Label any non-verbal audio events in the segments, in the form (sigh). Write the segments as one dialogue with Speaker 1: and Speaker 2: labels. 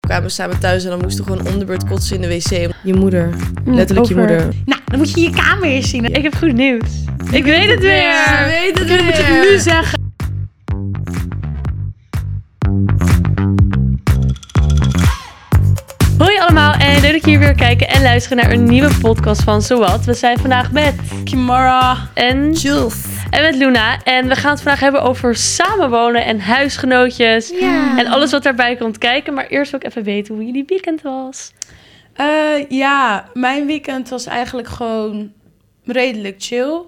Speaker 1: kwamen we samen thuis en dan moesten we gewoon om de beurt kotsen in de wc.
Speaker 2: Je moeder. Letterlijk je
Speaker 3: Mm, over-
Speaker 2: moeder.
Speaker 3: Nou, dan moet je je kamer eens zien. Ik heb goed nieuws. Ik weet het
Speaker 1: Ze
Speaker 3: weer.
Speaker 1: weet het
Speaker 3: Jullie moeten het
Speaker 1: weer.
Speaker 3: nu zeggen. Hoi allemaal en leuk dat jullie weer kijken en luisteren naar een nieuwe podcast van Zowat. We zijn vandaag met
Speaker 2: Kimara.
Speaker 3: en,
Speaker 1: Jules.
Speaker 3: en met Luna en we gaan het vandaag hebben over samenwonen en huisgenootjes en alles wat daarbij komt kijken. Maar eerst wil ik even weten hoe jullie weekend was.
Speaker 2: Eh, ja, mijn weekend was eigenlijk gewoon redelijk chill.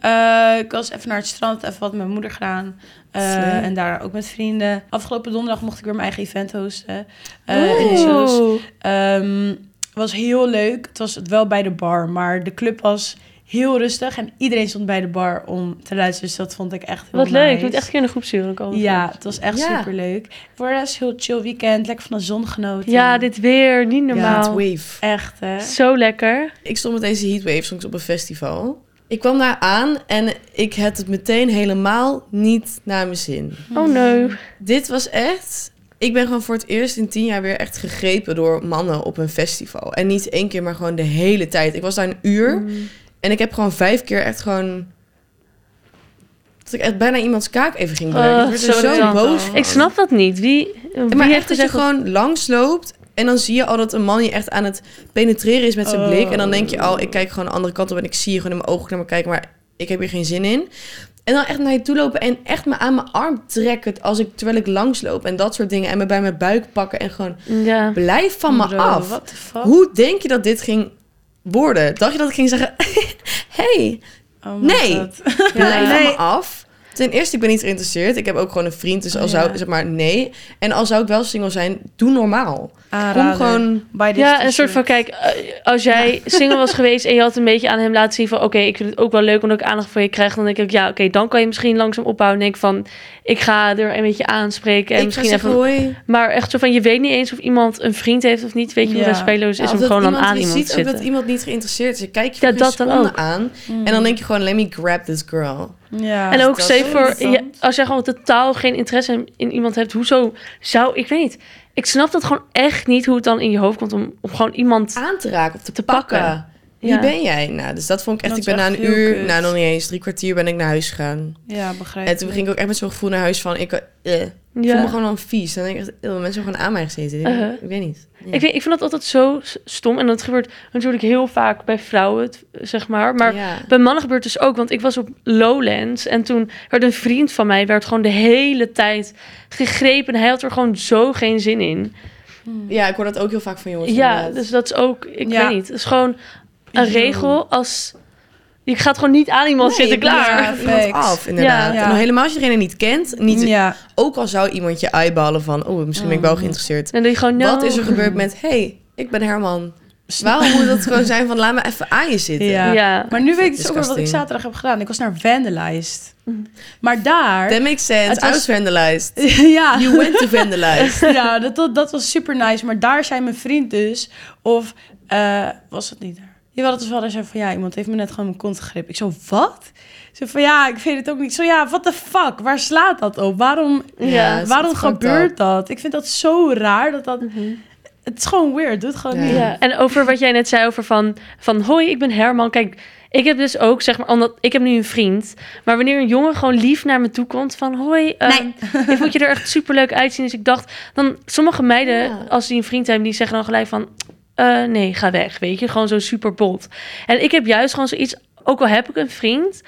Speaker 2: Eh, ik was even naar het strand, even wat met mijn moeder gedaan. Eh,
Speaker 1: Slim.
Speaker 2: en daar ook met vrienden. Afgelopen donderdag mocht ik weer mijn eigen event hosten. Eh, in de shows.
Speaker 3: Oh.
Speaker 2: Ehm, was heel leuk. Het was wel bij de bar, maar de club was heel rustig. En iedereen stond bij de bar om te luisteren. Dus dat vond ik echt heel
Speaker 3: Wat leuk, je
Speaker 2: nice.
Speaker 3: moet echt een keer in de groepsuren komen.
Speaker 2: Ja, het was echt
Speaker 1: Ja.
Speaker 2: superleuk. Voor de rest heel chill weekend. Lekker van de zon genoten.
Speaker 3: Ja, dit weer, niet normaal.
Speaker 1: Heatwave.
Speaker 2: Echt, hè?
Speaker 3: Zo lekker.
Speaker 1: Ik stond met deze heatwave soms op een festival. Ik kwam daar aan en ik had het meteen helemaal niet naar mijn zin.
Speaker 3: Oh nee.
Speaker 1: Dit was echt... Ik ben gewoon voor het eerst in tien jaar weer echt gegrepen door mannen op een festival. En niet één keer, maar gewoon de hele tijd. Ik was daar een uur en ik heb gewoon vijf keer echt gewoon... Dat ik echt bijna iemands kaak even ging
Speaker 3: Oh,
Speaker 1: bereiken. ik werd
Speaker 3: zo
Speaker 1: er zo
Speaker 3: irritant.
Speaker 1: boos van.
Speaker 3: Ik snap dat niet. Wie, wie
Speaker 1: Maar
Speaker 3: heeft
Speaker 1: echt dat je
Speaker 3: gezegd dat-
Speaker 1: gewoon langs loopt en dan zie je al dat een man je echt aan het penetreren is met zijn
Speaker 2: Oh.
Speaker 1: blik. En dan denk je al, ik kijk gewoon de andere kant op en ik zie je gewoon in mijn ogen naar me kijken, maar ik heb hier geen zin in. En dan echt naar je toe lopen en echt me aan mijn arm trekken als ik, terwijl ik langsloop en dat soort dingen. En me bij mijn buik pakken en gewoon
Speaker 3: Ja.
Speaker 1: blijf van me
Speaker 2: Bro,
Speaker 1: af.
Speaker 2: What the fuck?
Speaker 1: Hoe denk je dat dit ging worden? Dacht je dat ik ging zeggen, (laughs) hey,
Speaker 2: Oh my
Speaker 1: Nee.
Speaker 2: God.
Speaker 1: Blijf van me
Speaker 2: Nee.
Speaker 1: af. Ten eerste, ik ben niet geïnteresseerd. Ik heb ook gewoon een vriend, dus al
Speaker 2: Ja.
Speaker 3: Oh,
Speaker 1: zou zeg maar nee. En al zou ik wel single zijn, doe normaal. Kom
Speaker 2: Aanrader.
Speaker 1: gewoon.
Speaker 2: By this
Speaker 3: ja, een soort
Speaker 2: t-shirt.
Speaker 3: van, kijk, eh, als jij
Speaker 1: (laughs)
Speaker 3: single was geweest en je had een beetje aan hem laten zien van, oké, ik vind het ook wel leuk omdat ik aandacht voor je krijg, dan denk ik, ja, oké, dan kan je misschien langzaam opbouwen. Denk van, ik ga er een beetje aanspreken en
Speaker 1: ik ga
Speaker 3: misschien even... dus
Speaker 1: zeggen, hoi.
Speaker 3: Maar echt zo van, je weet niet eens of iemand een vriend heeft of niet, weet je hoe
Speaker 2: Ja.
Speaker 3: respectloos
Speaker 1: Ja,
Speaker 3: is
Speaker 1: of
Speaker 3: om
Speaker 1: dat
Speaker 3: gewoon dan
Speaker 1: iemand-
Speaker 3: aan
Speaker 1: je
Speaker 3: iemand
Speaker 1: ziet
Speaker 3: te zitten.
Speaker 1: ook dat iemand niet geïnteresseerd is. Je kijkt je
Speaker 3: Ja,
Speaker 1: voor geen
Speaker 3: dat dan
Speaker 1: seconde
Speaker 3: ook. Mm.
Speaker 1: aan. En dan denk je gewoon, let me grab this girl.
Speaker 2: Ja.
Speaker 3: En ook
Speaker 1: dat
Speaker 3: safe
Speaker 1: is
Speaker 3: voor, ja,
Speaker 2: interessant.
Speaker 3: als jij gewoon totaal geen interesse in, in iemand hebt, hoezo zou, ik weet niet. Ik snap dat gewoon echt niet hoe het dan in je hoofd komt om, om gewoon iemand...
Speaker 1: Aan te raken of te,
Speaker 3: Te
Speaker 1: pakken.
Speaker 3: pakken.
Speaker 1: Wie
Speaker 3: Ja.
Speaker 1: ben jij? Nou, dus dat vond ik echt.
Speaker 2: Dat
Speaker 1: ik ben
Speaker 2: is
Speaker 1: na
Speaker 2: echt
Speaker 1: een
Speaker 2: heel
Speaker 1: uur,
Speaker 2: kut.
Speaker 1: nou nog niet eens, drie kwartier ben ik naar huis gegaan.
Speaker 2: Ja, begrijp
Speaker 1: En toen ging ik ook echt met zo'n gevoel naar huis van, ik eh, ik
Speaker 3: Ja.
Speaker 1: voel me gewoon dan vies. Dan denk ik echt, eh, mensen hebben gewoon aan mij gezeten.
Speaker 3: Uh-huh.
Speaker 1: Ik weet niet. Ja.
Speaker 3: Ik, weet, ik vind dat altijd zo s- stom. En dat gebeurt natuurlijk heel vaak bij vrouwen, het- zeg maar. Maar
Speaker 1: Ja.
Speaker 3: bij mannen gebeurt het dus ook. Want ik was op Lowlands. En toen werd een vriend van mij werd gewoon de hele tijd gegrepen. Hij had er gewoon zo geen zin in.
Speaker 1: Ja, ik hoor dat ook heel vaak van jongens.
Speaker 3: Ja,
Speaker 1: inderdaad.
Speaker 3: dus dat is ook... Ik
Speaker 2: Ja.
Speaker 3: weet niet. Het is gewoon een
Speaker 2: Yo.
Speaker 3: regel als... Je gaat gewoon niet aan iemand
Speaker 1: Nee,
Speaker 3: zitten,
Speaker 1: je blijft
Speaker 3: klaar.
Speaker 1: gewoon van iemand
Speaker 2: Facts.
Speaker 1: af, inderdaad.
Speaker 2: Ja.
Speaker 1: En dan helemaal als je degene niet kent, niet,
Speaker 2: Ja.
Speaker 1: ook al zou iemand je eyeballen van, oh, misschien ben ik
Speaker 3: Mm.
Speaker 1: wel geïnteresseerd.
Speaker 3: Dan doe je gewoon, no.
Speaker 1: Wat is er gebeurd met, hey, ik ben Herman. Waarom moet dat gewoon zijn van, laat me even aan je zitten?
Speaker 2: Ja.
Speaker 3: Ja.
Speaker 2: Maar nu weet ik dus ook weer wat ik
Speaker 1: Disgusting. Mhm.
Speaker 2: zaterdag heb gedaan. Ik was naar Vandalized. Maar daar...
Speaker 1: That makes sense.
Speaker 2: Het
Speaker 1: I
Speaker 2: was-
Speaker 1: was vandalized.
Speaker 2: (laughs) ja.
Speaker 1: You went to vandalize.
Speaker 2: (laughs) ja, dat, dat, dat was super nice. Maar daar zei mijn vriend dus, of eh, was het niet daar? Jawel, dat was wel. Hij zei van ja, iemand heeft me net gewoon mijn kont gegript. Ik zo, wat? Ze van ja, ik vind het ook niet. Ik Zo ja, what the fuck? Waar slaat dat op? Waarom,
Speaker 3: Ja,
Speaker 1: Ja,
Speaker 2: waarom
Speaker 1: het is fucked
Speaker 2: gebeurt
Speaker 1: up.
Speaker 2: dat? Ik vind dat zo raar dat dat. Het is gewoon weird. Doe het gewoon
Speaker 1: Ja.
Speaker 2: niet.
Speaker 3: Ja, en over wat jij net zei over van, van hoi, ik ben Herman. Kijk, ik heb dus ook, zeg maar, omdat ik heb nu een vriend. Maar wanneer een jongen gewoon lief naar me toe komt van hoi, ehm, (laughs) ik vond je er echt superleuk uitzien. Dus ik dacht, dan sommige meiden,
Speaker 1: Ja.
Speaker 3: als die een vriend hebben, die zeggen dan gelijk van eh, nee, ga weg, weet je. Gewoon zo super bot. En ik heb juist gewoon zoiets, ook al heb ik een vriend...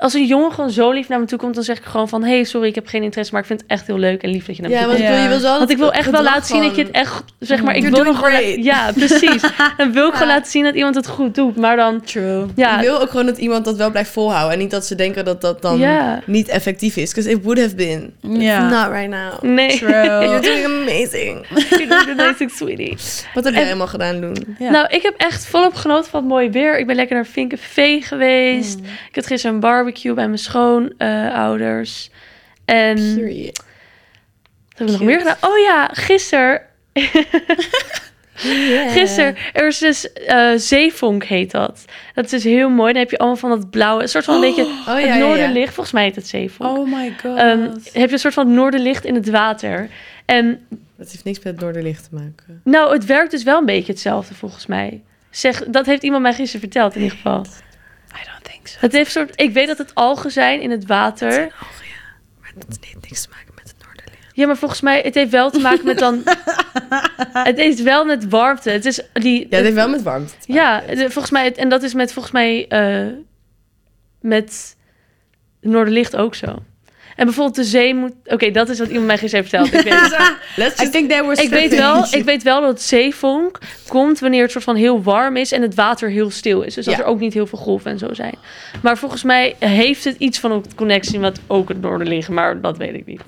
Speaker 3: Als een jongen gewoon zo lief naar me toe komt, dan zeg ik gewoon van... hey, sorry, ik heb geen interesse, maar ik vind het echt heel leuk en lief dat je naar me
Speaker 1: Ja,
Speaker 3: toe
Speaker 1: want ik wil, je wil zo
Speaker 3: want ik wil echt wel laten zien dat je het echt, zeg maar, ik wil
Speaker 1: doing
Speaker 3: nog gewoon,
Speaker 1: great.
Speaker 3: ja, precies. Dan wil ik gewoon laten zien dat iemand het goed doet, maar dan,
Speaker 2: True.
Speaker 1: Ik
Speaker 3: ja,
Speaker 1: wil ook gewoon dat iemand dat wel blijft volhouden. En niet dat ze denken dat dat dan
Speaker 3: Ja.
Speaker 1: niet effectief is. Because it would have been.
Speaker 2: Ja.
Speaker 1: Not right now.
Speaker 3: nee,
Speaker 1: (laughs)
Speaker 3: (laughs)
Speaker 1: You're
Speaker 2: (laughs) True.
Speaker 1: doing amazing.
Speaker 3: ik doe dit niet, ik sweetie.
Speaker 1: Wat heb jij helemaal gedaan, Loen?
Speaker 2: Ja.
Speaker 3: Nou, ik heb echt volop genoten van het mooie weer. Ik ben lekker naar Vinkenvee geweest. Ik had gisteren een barbecue bij mijn schoonouders. en wat
Speaker 1: Period.
Speaker 3: heb ik nog meer gedaan? Oh ja,
Speaker 1: (laughs)
Speaker 3: gisteren Gisteren, er is dus eh, zeevonk heet dat. Dat is dus heel mooi. Dan heb je allemaal van dat blauwe, een soort
Speaker 1: (gasps)
Speaker 3: van een beetje
Speaker 1: Oh, ja, ja, Oh,
Speaker 3: het
Speaker 1: ja.
Speaker 3: noorderlicht.
Speaker 1: Um,
Speaker 3: Volgens mij heet het zeevonk.
Speaker 2: Oh my god.
Speaker 3: Ehm, heb je een soort van noorderlicht in het water. En
Speaker 1: Dat heeft niks met het Noorderlicht te maken.
Speaker 3: Nou, het werkt dus wel een beetje hetzelfde volgens mij. Zeg, dat heeft iemand mij gisteren verteld in ieder
Speaker 1: (laughs)
Speaker 3: geval.
Speaker 2: I don't think so.
Speaker 3: Het heeft soort, ik weet dat het algen zijn in het water.
Speaker 1: Oh ja, maar dat heeft niks te maken met het Noorderlicht.
Speaker 3: Ja, maar volgens mij, het heeft wel te maken met
Speaker 1: (laughs)
Speaker 3: dan... het heeft wel met warmte. Het is die...
Speaker 1: Ja, het heeft wel met warmte te maken.
Speaker 3: Ja, de- volgens mij, en dat is met volgens mij eh, met Noorderlicht ook zo. En bijvoorbeeld de zee moet... Oké, dat is wat iemand mij gisteren heeft verteld. Ik weet het.
Speaker 1: Let's
Speaker 2: I
Speaker 1: just-
Speaker 2: think they were
Speaker 3: Ik weet,
Speaker 2: stripping.
Speaker 3: wel, ik weet wel dat zeevonk komt wanneer het soort van heel warm is en het water heel stil is. Dus dat
Speaker 1: Ja.
Speaker 3: er ook niet heel veel golven en zo zijn. Maar volgens mij heeft het iets van een connectie wat ook het noorden liggen, maar dat weet ik
Speaker 1: (laughs)
Speaker 3: niet.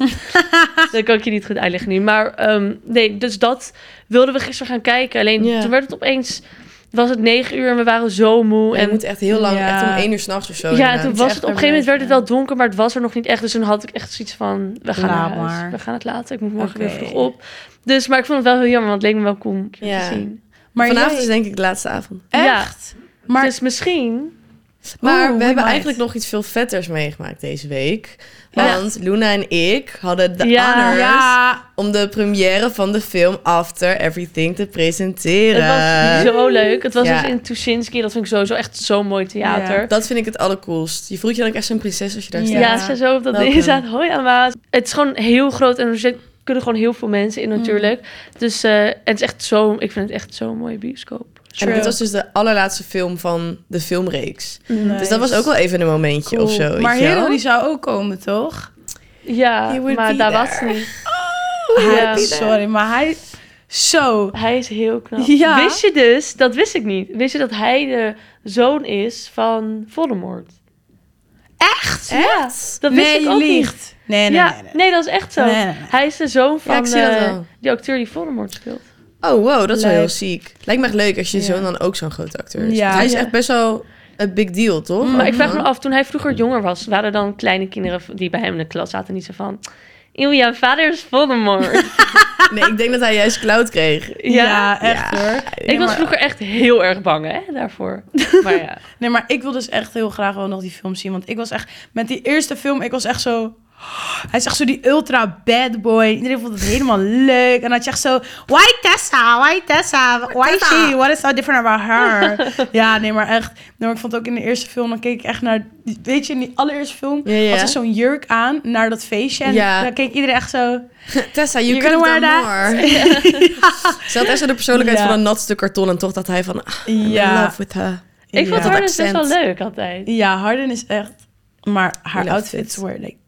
Speaker 3: dat kan ik je niet goed uitleggen nu. Maar ehm, nee, dus dat wilden we gisteren gaan kijken. Alleen
Speaker 1: Ja.
Speaker 3: toen werd het opeens, was het negen uur en we waren zo moe.
Speaker 1: Ja, je
Speaker 3: en
Speaker 1: moet echt heel lang,
Speaker 2: Ja.
Speaker 1: echt om één uur s'nachts of zo.
Speaker 3: ja,
Speaker 1: inderdaad.
Speaker 3: en toen was
Speaker 2: echt
Speaker 3: het op een gegeven moment
Speaker 2: erbij,
Speaker 3: werd het wel donker, maar het was er nog niet echt. Dus toen had ik echt zoiets van, we gaan
Speaker 2: Laat
Speaker 3: naar huis.
Speaker 2: maar.
Speaker 3: We gaan het laten. Ik moet morgen
Speaker 2: Oké.
Speaker 3: weer vroeg op. Dus, maar ik vond het wel heel jammer, want het leek me wel cool om
Speaker 1: Ja.
Speaker 3: te zien.
Speaker 2: Maar
Speaker 1: Vanavond
Speaker 2: jij-
Speaker 1: is denk ik de laatste avond.
Speaker 3: Ja.
Speaker 2: echt. Maar
Speaker 3: dus misschien... Oh,
Speaker 1: Maar
Speaker 2: Oeh,
Speaker 1: we
Speaker 2: mooi
Speaker 1: hebben
Speaker 2: meid.
Speaker 1: eigenlijk nog iets veel vetters meegemaakt deze week.
Speaker 3: Ja.
Speaker 1: Want Luna en ik hadden de
Speaker 3: Ja.
Speaker 1: honors
Speaker 2: ja,
Speaker 1: om de première van de film After Everything te
Speaker 3: Het
Speaker 1: presenteren.
Speaker 3: was zo leuk. Het was
Speaker 1: Ja.
Speaker 3: dus in Tuschinski. Dat vind ik sowieso echt zo'n mooi theater. Dus
Speaker 2: Ja.
Speaker 1: Dat vind ik het allercoolst. Je voelt je dan ook echt zo'n prinses als je daar
Speaker 2: Ja.
Speaker 3: Ja,
Speaker 1: staat.
Speaker 3: ze zo op dat
Speaker 1: Welkom.
Speaker 3: ding staat. Hoi Amma. Het is gewoon heel groot en er zit- kunnen gewoon heel veel mensen in natuurlijk. Dus eh, en het is echt zo... Ik vind het echt zo'n mooie bioscoop.
Speaker 1: En dit
Speaker 2: True.
Speaker 1: was dus de allerlaatste film van de filmreeks. Dus dat was
Speaker 2: Nice.
Speaker 1: ook wel even een momentje
Speaker 2: cool.
Speaker 1: of zo. weet
Speaker 2: Maar
Speaker 1: je wel?
Speaker 2: Hero die zou ook komen, toch?
Speaker 3: Ja,
Speaker 1: He would be
Speaker 3: maar daar
Speaker 1: there.
Speaker 3: was het niet.
Speaker 1: Oh,
Speaker 2: Hij-
Speaker 3: die
Speaker 2: Sorry, maar hij... Zo.
Speaker 3: Hij is heel knap.
Speaker 2: (laughs) Ja.
Speaker 3: Wist je dus, dat wist ik niet. Wist je dat hij de zoon is van Voldemort?
Speaker 2: Echt?
Speaker 3: Ja, dat wist
Speaker 2: nee,
Speaker 3: ik
Speaker 2: je
Speaker 3: ook niet.
Speaker 2: liegt. Nee, nee,
Speaker 3: ja,
Speaker 2: nee, nee.
Speaker 3: dat is echt zo.
Speaker 2: Nee, nee, nee.
Speaker 3: Hij is de zoon van
Speaker 1: ik zie dat
Speaker 3: eh,
Speaker 1: wel.
Speaker 3: die acteur die Voldemort speelt.
Speaker 1: Oh, wow, dat is wel
Speaker 2: Leuk.
Speaker 1: heel ziek. Lijkt me echt leuk als je
Speaker 2: Ja.
Speaker 1: zoon dan ook zo'n grote acteur is.
Speaker 2: Ja.
Speaker 1: Want hij is
Speaker 3: Ja.
Speaker 1: echt best wel een big deal, toch?
Speaker 2: Oh,
Speaker 3: Maar ik
Speaker 1: Ook
Speaker 3: vraag
Speaker 1: dan.
Speaker 3: me af, toen hij vroeger jonger was, waren er dan kleine kinderen die bij hem in de klas zaten niet zo van... Eeuw, jouw vader is
Speaker 2: (laughs)
Speaker 3: Voldemort.
Speaker 1: Nee, ik denk dat hij juist cloud
Speaker 3: (laughs)
Speaker 1: kreeg.
Speaker 3: ja.
Speaker 2: Ja, echt
Speaker 1: Ja.
Speaker 2: hoor.
Speaker 3: Ik was vroeger echt heel erg bang hè,
Speaker 2: (laughs)
Speaker 3: daarvoor. Maar ja.
Speaker 2: Nee, maar ik wil dus echt heel graag wel nog die film zien. Want ik was echt... Met die eerste film, ik was echt zo... Hij is echt zo die ultra bad boy. Iedereen vond het helemaal leuk. En dan had je echt zo... Why Tessa? Why Tessa? Why she? What is so different about her? (laughs) ja, nee, maar echt. Nee, maar ik vond ook in de eerste film... Dan keek ik echt naar... Weet je, in die allereerste film...
Speaker 1: Ja, ja.
Speaker 2: had ze zo'n jurk aan naar dat feestje. En
Speaker 1: Ja.
Speaker 2: dan keek iedereen echt zo...
Speaker 1: Tessa, you
Speaker 2: You're
Speaker 1: could
Speaker 2: gonna
Speaker 1: have done
Speaker 2: wear
Speaker 1: more. (laughs)
Speaker 3: (laughs)
Speaker 1: Ze had echt zo de persoonlijkheid
Speaker 2: Ja.
Speaker 1: van een nat stuk karton en toch dat hij van... ah, I'm in
Speaker 2: Ja.
Speaker 1: love with her.
Speaker 3: Ik vond
Speaker 2: ja.
Speaker 3: haar dus best
Speaker 1: accent.
Speaker 3: wel leuk altijd.
Speaker 2: Ja, Harden is echt... Maar haar
Speaker 1: Love
Speaker 2: outfits
Speaker 1: it.
Speaker 2: were like...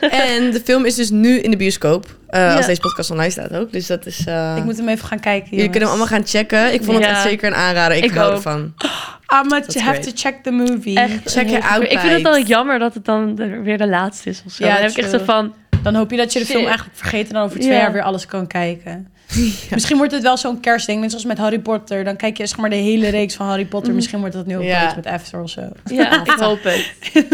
Speaker 1: En de film is dus nu in de bioscoop. eh,
Speaker 3: Ja.
Speaker 1: Als deze podcast online staat ook. Dus dat is... eh,
Speaker 2: Ik moet hem even gaan kijken,
Speaker 1: Jullie kunnen hem allemaal gaan checken. Ik vond
Speaker 3: Ja.
Speaker 1: het echt zeker een aanrader. Ik,
Speaker 3: Ik
Speaker 1: hou
Speaker 3: ook.
Speaker 1: ervan.
Speaker 2: I'm gonna
Speaker 1: That's
Speaker 2: have
Speaker 1: great.
Speaker 2: to check the movie.
Speaker 3: Echt
Speaker 1: Check
Speaker 3: een
Speaker 1: it
Speaker 3: heel-
Speaker 1: out,
Speaker 3: Ik vind het dan
Speaker 1: guys.
Speaker 3: jammer dat het dan de- weer de laatste is of zo.
Speaker 2: Ja,
Speaker 3: dan heb ik echt zo
Speaker 2: true. (laughs)
Speaker 3: van...
Speaker 2: Dan hoop je dat je de
Speaker 3: Shit.
Speaker 2: film eigenlijk vergeet en dan over twee
Speaker 3: Ja.
Speaker 2: jaar weer alles kan kijken. Misschien wordt het wel zo'n kerstding, net zoals met Harry Potter. Dan kijk je zeg maar de hele reeks van Harry Potter. Misschien wordt dat nu ook
Speaker 1: Ja.
Speaker 2: wel iets met After of zo.
Speaker 3: Ja,
Speaker 1: (laughs)
Speaker 3: ik hoop het.
Speaker 1: Nee,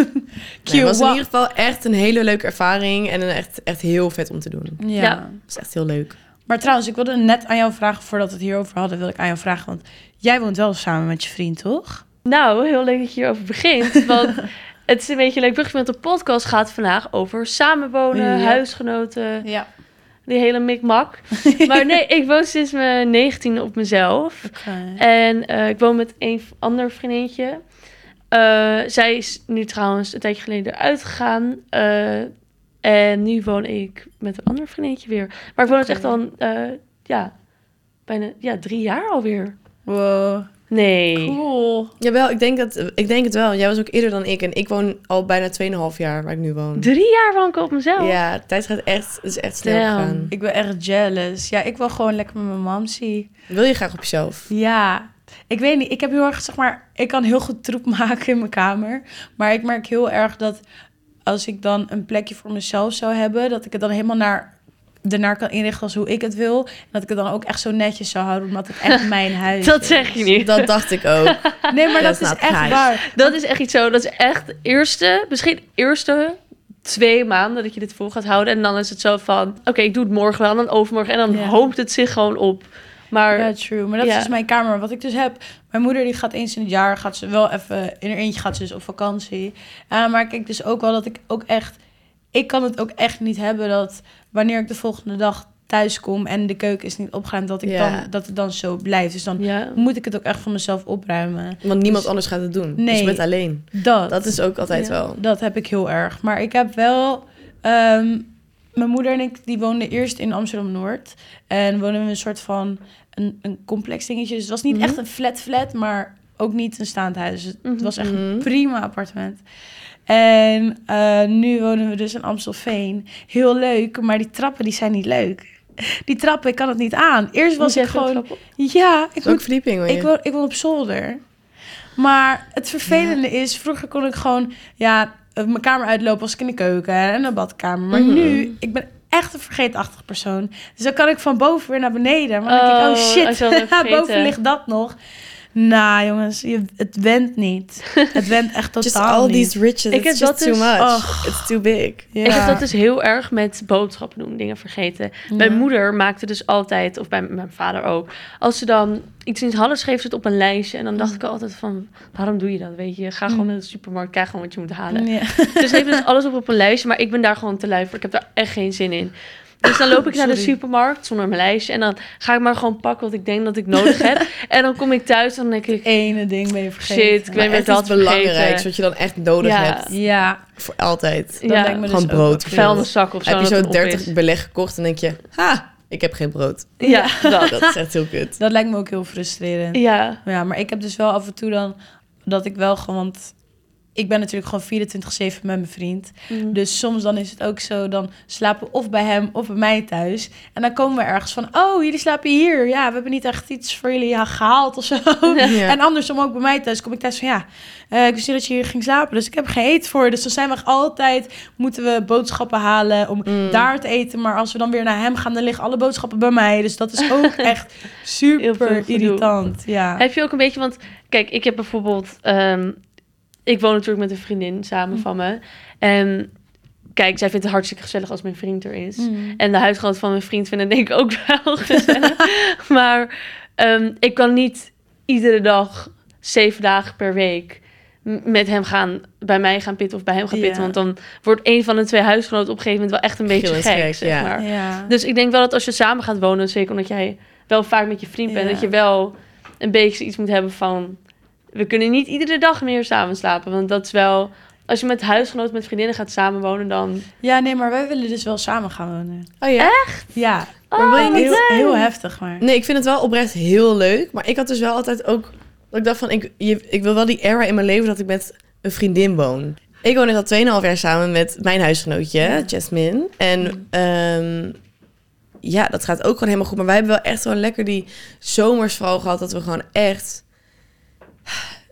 Speaker 1: het was in
Speaker 2: Wow.
Speaker 1: ieder geval echt een hele leuke ervaring. En een echt, echt heel vet om te doen. Het
Speaker 2: Ja.
Speaker 3: Ja.
Speaker 1: was echt heel leuk.
Speaker 2: Maar trouwens, ik wilde net aan jou vragen, voordat we het hierover hadden, wil ik aan jou vragen. Want jij woont wel samen met je vriend, toch?
Speaker 3: Nou, heel leuk dat je hierover
Speaker 2: (laughs)
Speaker 3: begint. Want het is een beetje een leuk brugje, want de podcast gaat vandaag over samenwonen,
Speaker 2: Ja.
Speaker 3: huisgenoten,
Speaker 2: Ja.
Speaker 3: die hele
Speaker 2: (laughs)
Speaker 3: mikmak. Maar nee, ik woon sinds mijn 19 op mezelf. En eh, ik woon met een v- ander vriendinnetje. Eh, zij is nu trouwens een tijdje geleden eruit gegaan. eh, en nu woon ik met een ander vriendinnetje weer. Maar ik woon het
Speaker 2: Oké.
Speaker 3: echt al eh, ja, bijna ja, drie jaar alweer.
Speaker 2: Wow.
Speaker 3: Nee.
Speaker 2: Cool.
Speaker 1: Jawel, ik denk, dat, ik denk het wel. Jij was ook eerder dan ik. En ik woon al bijna 2,5 jaar waar ik nu woon.
Speaker 3: Drie jaar woon ik op mezelf.
Speaker 1: Ja, de tijd gaat echt, het is echt snel
Speaker 3: Damn.
Speaker 1: gegaan.
Speaker 2: Ik ben echt jealous. Ja, ik wil gewoon lekker met mijn mam zien.
Speaker 1: Wil je graag op jezelf?
Speaker 2: Ja, ik weet niet. Ik heb heel erg, zeg maar, ik kan heel goed troep (laughs) maken in mijn kamer. Maar ik merk heel erg dat als ik dan een plekje voor mezelf zou hebben, dat ik het dan helemaal naar ernaar kan inrichten als hoe ik het wil. En dat ik het dan ook echt zo netjes zou houden, omdat het
Speaker 3: (laughs)
Speaker 2: echt mijn huis
Speaker 3: Dat
Speaker 2: is.
Speaker 3: zeg je niet.
Speaker 1: Dat dacht ik ook.
Speaker 3: (laughs)
Speaker 2: Nee, maar
Speaker 1: Dat is
Speaker 2: dat,
Speaker 1: nou
Speaker 2: is
Speaker 1: not
Speaker 2: echt
Speaker 1: nice.
Speaker 2: waar.
Speaker 3: Dat is echt iets zo. Dat is echt eerste, misschien eerste twee maanden dat je dit vol gaat houden. En dan is het zo van, oké, ik doe het morgen wel, dan overmorgen. En dan
Speaker 2: Ja.
Speaker 3: hoopt het zich gewoon op. Maar
Speaker 2: Ja, true. Maar dat
Speaker 3: Ja.
Speaker 2: is dus mijn kamer. Wat ik dus heb, mijn moeder die gaat eens in het jaar, gaat ze wel even, in haar eentje gaat ze dus op vakantie. Eh, maar ik kijk dus ook wel dat ik ook echt, ik kan het ook echt niet hebben dat wanneer ik de volgende dag thuis kom en de keuken is niet opgeruimd, dat, ik
Speaker 1: Ja.
Speaker 2: dan, dat het dan zo blijft. Dus dan
Speaker 3: Ja.
Speaker 2: moet ik het ook echt voor mezelf opruimen.
Speaker 1: Want niemand
Speaker 2: Dus-
Speaker 1: anders gaat het doen. Dus
Speaker 2: Nee.
Speaker 1: je bent alleen.
Speaker 2: Dat,
Speaker 1: Dat is ook altijd
Speaker 3: Ja.
Speaker 1: wel.
Speaker 2: dat heb ik heel erg. Maar ik heb wel... ehm, mijn moeder en ik die woonden eerst in Amsterdam-Noord. En woonden we een soort van een, een complex dingetje. Dus het was niet
Speaker 1: Mhm.
Speaker 2: echt een flat-flat, maar ook niet een staand huis. Dus
Speaker 3: Mhm.
Speaker 2: het was echt
Speaker 1: Mhm.
Speaker 2: prima appartement. En eh, nu wonen we dus in Amstelveen. Heel leuk, maar die trappen die zijn niet leuk. Die trappen, ik kan het niet aan. Eerst was
Speaker 3: Moet jij
Speaker 2: ik
Speaker 3: veel
Speaker 2: gewoon...
Speaker 3: trappen op?
Speaker 2: Ja, ik
Speaker 1: Het is ook
Speaker 2: moet
Speaker 1: verdieping. hoor je.
Speaker 2: ik woon, ik woon op zolder. Maar het vervelende is, vroeger kon ik gewoon ja, eh, mijn kamer uitlopen als ik in de keuken en de badkamer. Maar
Speaker 1: Mhm.
Speaker 2: nu, ik ben echt een vergeetachtig persoon. Dus dan kan ik van boven weer naar beneden. Maar dan denk ik,
Speaker 3: Oh,
Speaker 2: oh
Speaker 3: als
Speaker 2: shit,
Speaker 3: je al hebt vergeten.
Speaker 2: (laughs) boven ligt dat nog. Nou jongens, je, het went niet. Het went echt
Speaker 1: just
Speaker 2: totaal
Speaker 1: all
Speaker 2: niet.
Speaker 1: these riches.
Speaker 3: Ik
Speaker 1: Ik
Speaker 3: heb
Speaker 1: it's
Speaker 3: dat
Speaker 1: just too
Speaker 3: dus-
Speaker 1: much.
Speaker 2: och.
Speaker 1: It's too big.
Speaker 2: Ja.
Speaker 3: Ik heb dat dus heel erg met boodschappen doen, dingen vergeten. Mijn
Speaker 2: Ja.
Speaker 3: moeder maakte dus altijd, of bij mijn vader ook, als ze dan iets niet hadden, schreef ze het op een lijstje. En dan dacht ik altijd van, waarom doe je dat, weet je? Ga gewoon
Speaker 2: Mm.
Speaker 3: naar de supermarkt, krijg gewoon wat je moet halen.
Speaker 2: Ja.
Speaker 3: Dus ze heeft dus alles op, op een lijstje, maar ik ben daar gewoon te lui voor. Ik heb daar echt geen zin in. Dus dan loop ik naar de
Speaker 2: Sorry.
Speaker 3: supermarkt zonder mijn lijstje. En dan ga ik maar gewoon pakken wat ik denk dat ik nodig heb. En dan kom ik thuis en dan denk ik,
Speaker 2: Ene ding ben je vergeten.
Speaker 3: Shit, ik ben-
Speaker 1: Maar
Speaker 3: weer
Speaker 1: echt
Speaker 3: dat
Speaker 1: iets belangrijks
Speaker 3: vergeten.
Speaker 1: wat je dan echt nodig
Speaker 3: Ja.
Speaker 1: hebt.
Speaker 2: Ja,
Speaker 1: Voor altijd.
Speaker 2: dat
Speaker 3: Ja,
Speaker 2: lijkt me dus
Speaker 1: gewoon
Speaker 2: ook
Speaker 1: brood.
Speaker 2: wel
Speaker 3: vuil mijn zak of zo.
Speaker 1: heb je
Speaker 3: dat het
Speaker 1: zo
Speaker 3: op
Speaker 1: 30 (laughs)
Speaker 3: is.
Speaker 1: beleg gekocht en denk je... Ha, ik heb geen
Speaker 3: (laughs)
Speaker 1: brood.
Speaker 3: Ja, dat.
Speaker 1: Dat is echt heel kut.
Speaker 2: Dat lijkt me ook heel frustrerend.
Speaker 3: Ja,
Speaker 2: Ja, maar ik heb dus wel af en toe dan dat ik wel gewoon, want ik ben natuurlijk gewoon 24-7 met mijn vriend.
Speaker 3: Mm.
Speaker 2: Dus soms dan is het ook zo, dan slapen we of bij hem of bij mij thuis. En dan komen we ergens van, oh, jullie slapen hier. Ja, we hebben niet echt iets voor jullie ja, gehaald of zo.
Speaker 1: Ja.
Speaker 2: En andersom ook bij mij thuis kom ik thuis van, ja, eh, ik wist niet dat je hier ging slapen, dus ik heb geen eten voor. je. Dus dan zijn we altijd, moeten we boodschappen halen om
Speaker 1: Mm.
Speaker 2: daar te eten. Maar als we dan weer naar hem gaan, dan liggen alle boodschappen bij mij. Dus dat
Speaker 3: (laughs)
Speaker 2: is ook echt
Speaker 3: Heel veel
Speaker 2: super
Speaker 3: gedoe.
Speaker 2: irritant. Ja.
Speaker 3: Heb je ook een beetje, want kijk, ik heb bijvoorbeeld, ehm, ik woon natuurlijk met een vriendin samen
Speaker 1: Mm.
Speaker 3: van me. En kijk, zij vindt het hartstikke gezellig als mijn vriend er is.
Speaker 1: Mm.
Speaker 3: En de huisgenoot van mijn vriend vindt het denk ik ook (laughs) wel gezellig.
Speaker 1: (laughs)
Speaker 3: maar ehm, ik kan niet iedere dag, zeven dagen per week, m- met hem gaan, bij mij gaan pitten of bij hem gaan pitten.
Speaker 2: Ja.
Speaker 3: Want dan wordt een van de twee huisgenoten op een gegeven moment wel echt een beetje
Speaker 1: Gillend
Speaker 3: gek,
Speaker 1: gek,
Speaker 3: zeg
Speaker 1: ja.
Speaker 3: maar.
Speaker 2: Ja.
Speaker 3: Dus ik denk wel dat als je samen gaat wonen, zeker omdat jij wel vaak met je vriend bent,
Speaker 2: Ja.
Speaker 3: dat je wel een beetje iets moet hebben van. We kunnen niet iedere dag meer samen slapen. Want dat is wel. Als je met huisgenoten, met vriendinnen gaat samenwonen, dan.
Speaker 2: ja, nee, maar wij willen dus wel samen gaan wonen.
Speaker 1: Oh ja?
Speaker 2: Ja,
Speaker 1: Maar wil je niet...
Speaker 2: heel, heel heftig, maar.
Speaker 1: Nee, ik vind het wel oprecht heel leuk. Maar ik had dus wel altijd ook... Dat ik dacht van, ik, je- ik wil wel die era in mijn leven dat ik met een vriendin woon. Ik woon net al 2,5 jaar samen met mijn huisgenootje, Jasmine. En ehm, ja, dat gaat ook gewoon helemaal goed. Maar wij hebben wel echt gewoon lekker die zomers vooral gehad. Dat we gewoon echt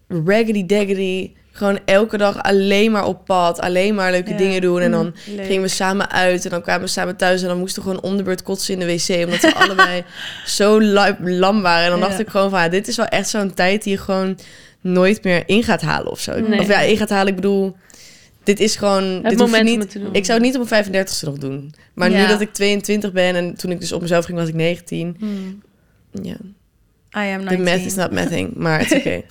Speaker 1: raggedy daggedy... Gewoon elke dag alleen maar op pad. Alleen maar leuke
Speaker 2: Ja. Mm,
Speaker 1: dingen doen. En dan
Speaker 2: Leuk.
Speaker 1: gingen we samen uit en dan kwamen we samen thuis en dan moesten we gewoon onderbeurt kotsen in de wc omdat
Speaker 2: (laughs)
Speaker 1: we allebei zo la- lam waren. En dan dacht
Speaker 2: Ja.
Speaker 1: ik gewoon van, ah, dit is wel echt zo'n tijd die je gewoon nooit meer in gaat halen of zo.
Speaker 3: Nee.
Speaker 1: Of ja, in gaat halen, ik bedoel, dit is gewoon... dit hoef je
Speaker 3: moment om
Speaker 1: niet,
Speaker 3: het te doen.
Speaker 1: Ik zou het niet op mijn 35ste nog doen. Maar nu
Speaker 2: Ja.
Speaker 1: dat ik 22 ben en toen ik dus op mezelf ging was ik 19.
Speaker 2: Hmm.
Speaker 1: Ja,
Speaker 2: I am
Speaker 1: de
Speaker 2: 19.
Speaker 1: math is not mathing, maar
Speaker 3: (laughs)
Speaker 1: het is oké.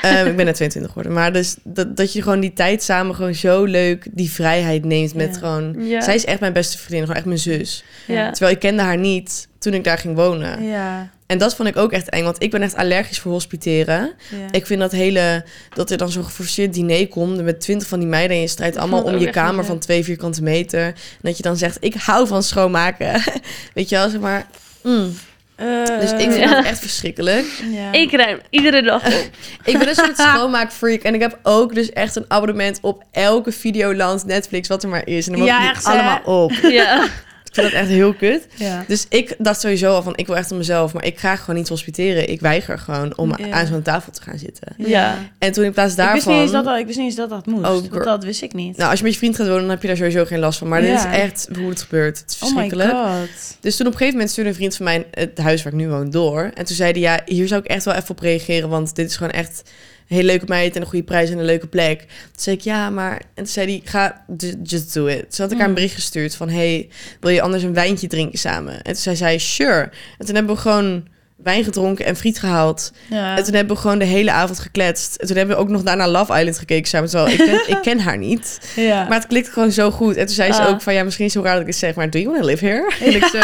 Speaker 1: Ehm, ik ben net 22 geworden. Maar dus dat, dat je gewoon die tijd samen gewoon zo leuk die vrijheid neemt met
Speaker 2: Ja.
Speaker 1: gewoon...
Speaker 3: Ja.
Speaker 1: Zij is echt mijn beste vriendin, gewoon echt mijn zus.
Speaker 3: Ja.
Speaker 1: Terwijl ik kende haar niet toen ik daar ging wonen.
Speaker 2: Ja,
Speaker 1: En dat vond ik ook echt eng, want ik ben echt allergisch voor hospiteren.
Speaker 2: ja.
Speaker 1: Ik vind dat hele, dat er dan zo'n geforceerd diner komt met twintig van die meiden en je strijdt allemaal
Speaker 3: vond ik
Speaker 1: om
Speaker 3: ook
Speaker 1: je
Speaker 3: echt niet
Speaker 1: kamer
Speaker 3: leuk.
Speaker 1: van twee vierkante meter. En dat je dan zegt, ik hou van schoonmaken. (laughs) Weet je wel, zeg maar. mm.
Speaker 2: Eh,
Speaker 1: Dus ik vind
Speaker 3: Ja.
Speaker 1: dat echt verschrikkelijk.
Speaker 2: ja.
Speaker 3: Ik ruim iedere
Speaker 1: (laughs)
Speaker 3: dag op.
Speaker 1: Ik ben een soort schoonmaakfreak en ik heb ook dus echt een abonnement op elke Videoland, Netflix, wat er maar is. En dan
Speaker 2: Ja,
Speaker 1: ja,
Speaker 2: echt,
Speaker 1: echt,
Speaker 2: hè?
Speaker 1: allemaal op.
Speaker 3: ja.
Speaker 1: Ik vind dat echt heel kut.
Speaker 2: Ja.
Speaker 1: Dus ik dacht sowieso al van, ik wil echt om mezelf, maar ik ga gewoon niet hospiteren. Ik weiger gewoon om
Speaker 2: Ja.
Speaker 1: aan zo'n tafel te gaan zitten.
Speaker 3: Ja.
Speaker 1: En toen in plaats
Speaker 2: Ik wist,
Speaker 1: daarvan...
Speaker 2: niet eens dat, dat- ik wist niet eens dat dat moest.
Speaker 1: Oh,
Speaker 2: want
Speaker 1: girl.
Speaker 2: dat wist ik niet. Oh
Speaker 1: Nou, als je met je vriend gaat wonen, dan heb je daar sowieso geen last van. Maar dit is
Speaker 2: Ja.
Speaker 1: echt hoe het gebeurt. Het is
Speaker 2: oh my
Speaker 1: verschrikkelijk.
Speaker 2: god.
Speaker 1: dus toen op een gegeven moment stuurde een vriend van mij het huis waar ik nu woon door. En toen zei hij, ja, hier zou ik echt wel even op reageren. Want dit is gewoon echt een hele leuke meid en een goede prijs en een leuke plek. Toen zei ik, ja, maar... En toen zei hij, ga, ju- just do it. Toen had ik haar
Speaker 2: Hmm.
Speaker 1: een bericht gestuurd van, hey, wil je anders een wijntje drinken samen? En toen zei zij, sure. En toen hebben we gewoon wijn gedronken en friet gehaald.
Speaker 2: Ja.
Speaker 1: En toen hebben we gewoon de hele avond gekletst. En toen hebben we ook nog daarna Love Island gekeken samen. Terwijl ik ken, ik ken haar niet.
Speaker 2: ja.
Speaker 1: Maar het klikt gewoon zo goed. En toen zei ze
Speaker 3: Ah.
Speaker 1: ook van, ja, misschien is het heel raar dat ik dit zeg, maar do you want to live here? En ik zo,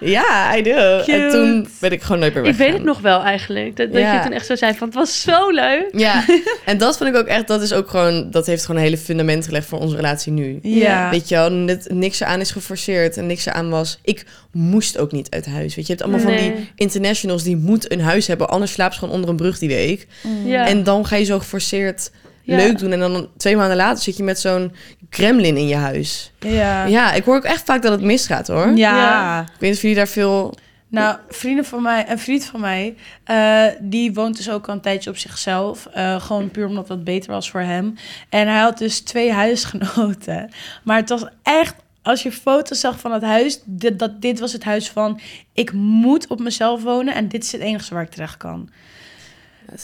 Speaker 1: ja, I do.
Speaker 2: Cute.
Speaker 1: En toen ben ik gewoon nooit meer
Speaker 3: Ik
Speaker 1: weggegaan.
Speaker 3: weet het nog wel eigenlijk. Dat, dat
Speaker 1: Ja.
Speaker 3: je toen echt zo zei van, het was zo leuk.
Speaker 1: Ja,
Speaker 3: (laughs)
Speaker 1: en dat vind ik ook echt, dat is ook gewoon, dat heeft gewoon een hele fundament gelegd voor onze relatie nu.
Speaker 2: Ja.
Speaker 1: Weet je wel, net, niks eraan is geforceerd en niks eraan was. Ik moest ook niet uit huis. Weet je, je hebt allemaal van die
Speaker 3: Nee.
Speaker 1: internationals die moeten een huis hebben, anders slaapt ze gewoon onder een brug die week.
Speaker 3: Ja.
Speaker 1: En dan ga je zo geforceerd
Speaker 3: Ja.
Speaker 1: leuk doen en dan twee maanden later zit je met zo'n gremlin in je huis.
Speaker 2: Ja.
Speaker 1: Ja, ik hoor ook echt vaak dat het misgaat hoor.
Speaker 2: ja.
Speaker 1: Ik weet niet of jullie daar veel...
Speaker 2: Nou, vrienden van mij, een vriend van mij, eh, die woont dus ook al een tijdje op zichzelf. Eh, gewoon puur omdat dat beter was voor hem. En hij had dus twee (laughs) huisgenoten. Maar het was echt, als je foto's zag van het huis, dit, dat, dit was het huis van... ik moet op mezelf wonen en dit is het enige waar ik terecht kan.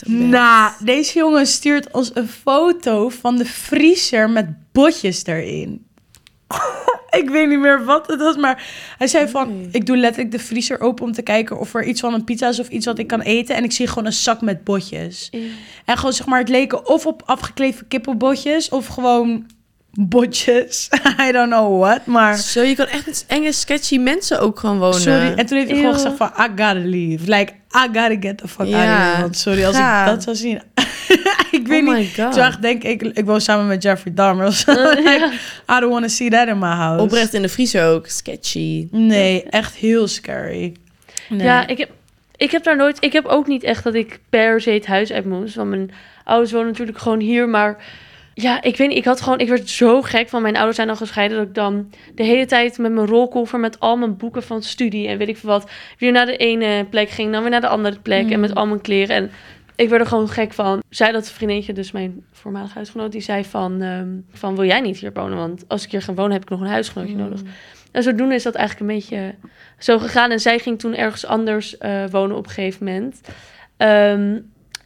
Speaker 2: Nou, deze jongen stuurt ons een foto van de vriezer met botjes erin. (laughs) ik weet niet meer wat het was, maar hij zei van... Ik doe letterlijk de vriezer open om te kijken of er iets van een pizza is of iets wat ik kan eten. En ik zie gewoon een zak met botjes. En gewoon zeg maar, het leken of op afgekleefde kippenbotjes of gewoon botjes. (laughs) I don't know what, maar...
Speaker 1: Zo, je kan echt met enge, sketchy mensen ook gewoon wonen.
Speaker 2: Sorry. En toen heeft hij
Speaker 3: Eeuw.
Speaker 2: gewoon gezegd van, I gotta leave. Like, I gotta get the fuck out of
Speaker 1: Ja,
Speaker 2: here. Want sorry, als
Speaker 1: ga.
Speaker 2: ik dat zou zien... (laughs) ik weet
Speaker 1: Oh
Speaker 2: niet.
Speaker 1: my God.
Speaker 2: Toen dacht ik, denk ik, ik woon samen met Jeffrey Dahmer. of zo. (laughs) Like, I don't want to see that in my house.
Speaker 1: Oprecht in de vriezer ook. Sketchy.
Speaker 2: Nee, echt heel scary. Nee.
Speaker 3: Ja, ik heb, ik heb daar nooit... Ik heb ook niet echt dat ik per se het huis uit moest. Want mijn ouders wonen natuurlijk gewoon hier, maar... Ja, ik weet niet. Ik had gewoon... Ik werd zo gek van mijn ouders zijn al gescheiden... dat ik dan de hele tijd met mijn rolkoffer... met al mijn boeken van studie en weet ik veel wat... weer naar de ene plek ging, dan weer naar de andere plek... en met al mijn kleren en... Ik werd er gewoon gek van. Zij dat vriendinnetje, dus mijn voormalige huisgenoot, die zei van, ehm, van wil jij niet hier wonen? Want als ik hier ga wonen, heb ik nog een huisgenootje nodig. En zodoende is dat eigenlijk een beetje zo gegaan. En zij ging toen ergens anders eh, wonen op een gegeven moment. Ehm,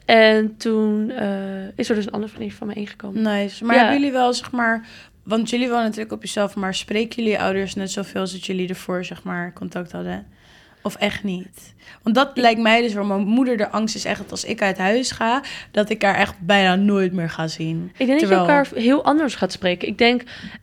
Speaker 3: en toen eh, is er dus een ander vriendje van mij ingekomen.
Speaker 2: Nice. Maar
Speaker 3: Ja.
Speaker 2: hebben jullie wel, zeg maar... Want jullie wonen natuurlijk op jezelf, maar spreken jullie ouders net zoveel als dat jullie ervoor, zeg maar, contact hadden? Of echt niet? Want dat lijkt mij dus waar mijn moeder de angst is echt dat als ik uit huis ga, dat ik haar echt bijna nooit meer ga zien.
Speaker 3: Ik denk
Speaker 2: Terwijl-
Speaker 3: dat je elkaar heel anders gaat spreken. Ik denk,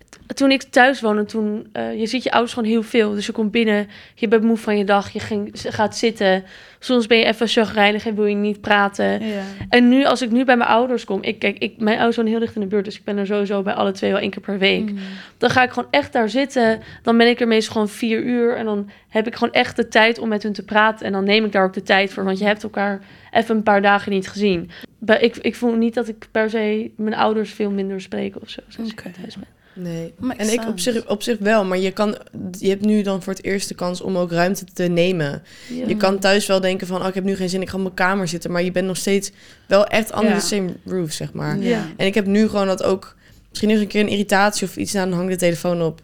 Speaker 3: t- toen ik thuis woonde, toen, eh, je ziet je ouders gewoon heel veel. Dus je komt binnen, je bent moe van je dag, je ging, z- gaat zitten. Soms ben je even chagrijnig en wil je niet praten.
Speaker 2: Ja.
Speaker 3: En nu, als ik nu bij mijn ouders kom, ik, kijk, ik, mijn ouders wonen heel dicht in de buurt, dus ik ben er sowieso bij alle twee wel één keer per week. Dan ga ik gewoon echt daar zitten. Dan ben ik er meestal gewoon vier uur en dan heb ik gewoon echt de tijd om met hun te praten. En dan neem ik daar ook de tijd voor, want je hebt elkaar even een paar dagen niet gezien. Maar ik, ik voel niet dat ik per se mijn ouders veel minder spreek of zo. sinds ik
Speaker 2: Oké.
Speaker 3: thuis ben.
Speaker 1: Nee.
Speaker 2: Makes
Speaker 1: en ik op
Speaker 2: sense.
Speaker 1: zich, op zich wel, maar je, kan, je hebt nu dan voor het eerst de kans om ook ruimte te nemen.
Speaker 3: Ja.
Speaker 1: Je kan thuis wel denken van, oh, ik heb nu geen zin, ik ga op mijn kamer zitten. Maar je bent nog steeds wel echt under
Speaker 2: Ja.
Speaker 1: the same roof, zeg maar.
Speaker 2: Ja.
Speaker 1: En ik heb nu gewoon dat ook, misschien is een keer een irritatie of iets, nou, dan hang ik de telefoon op.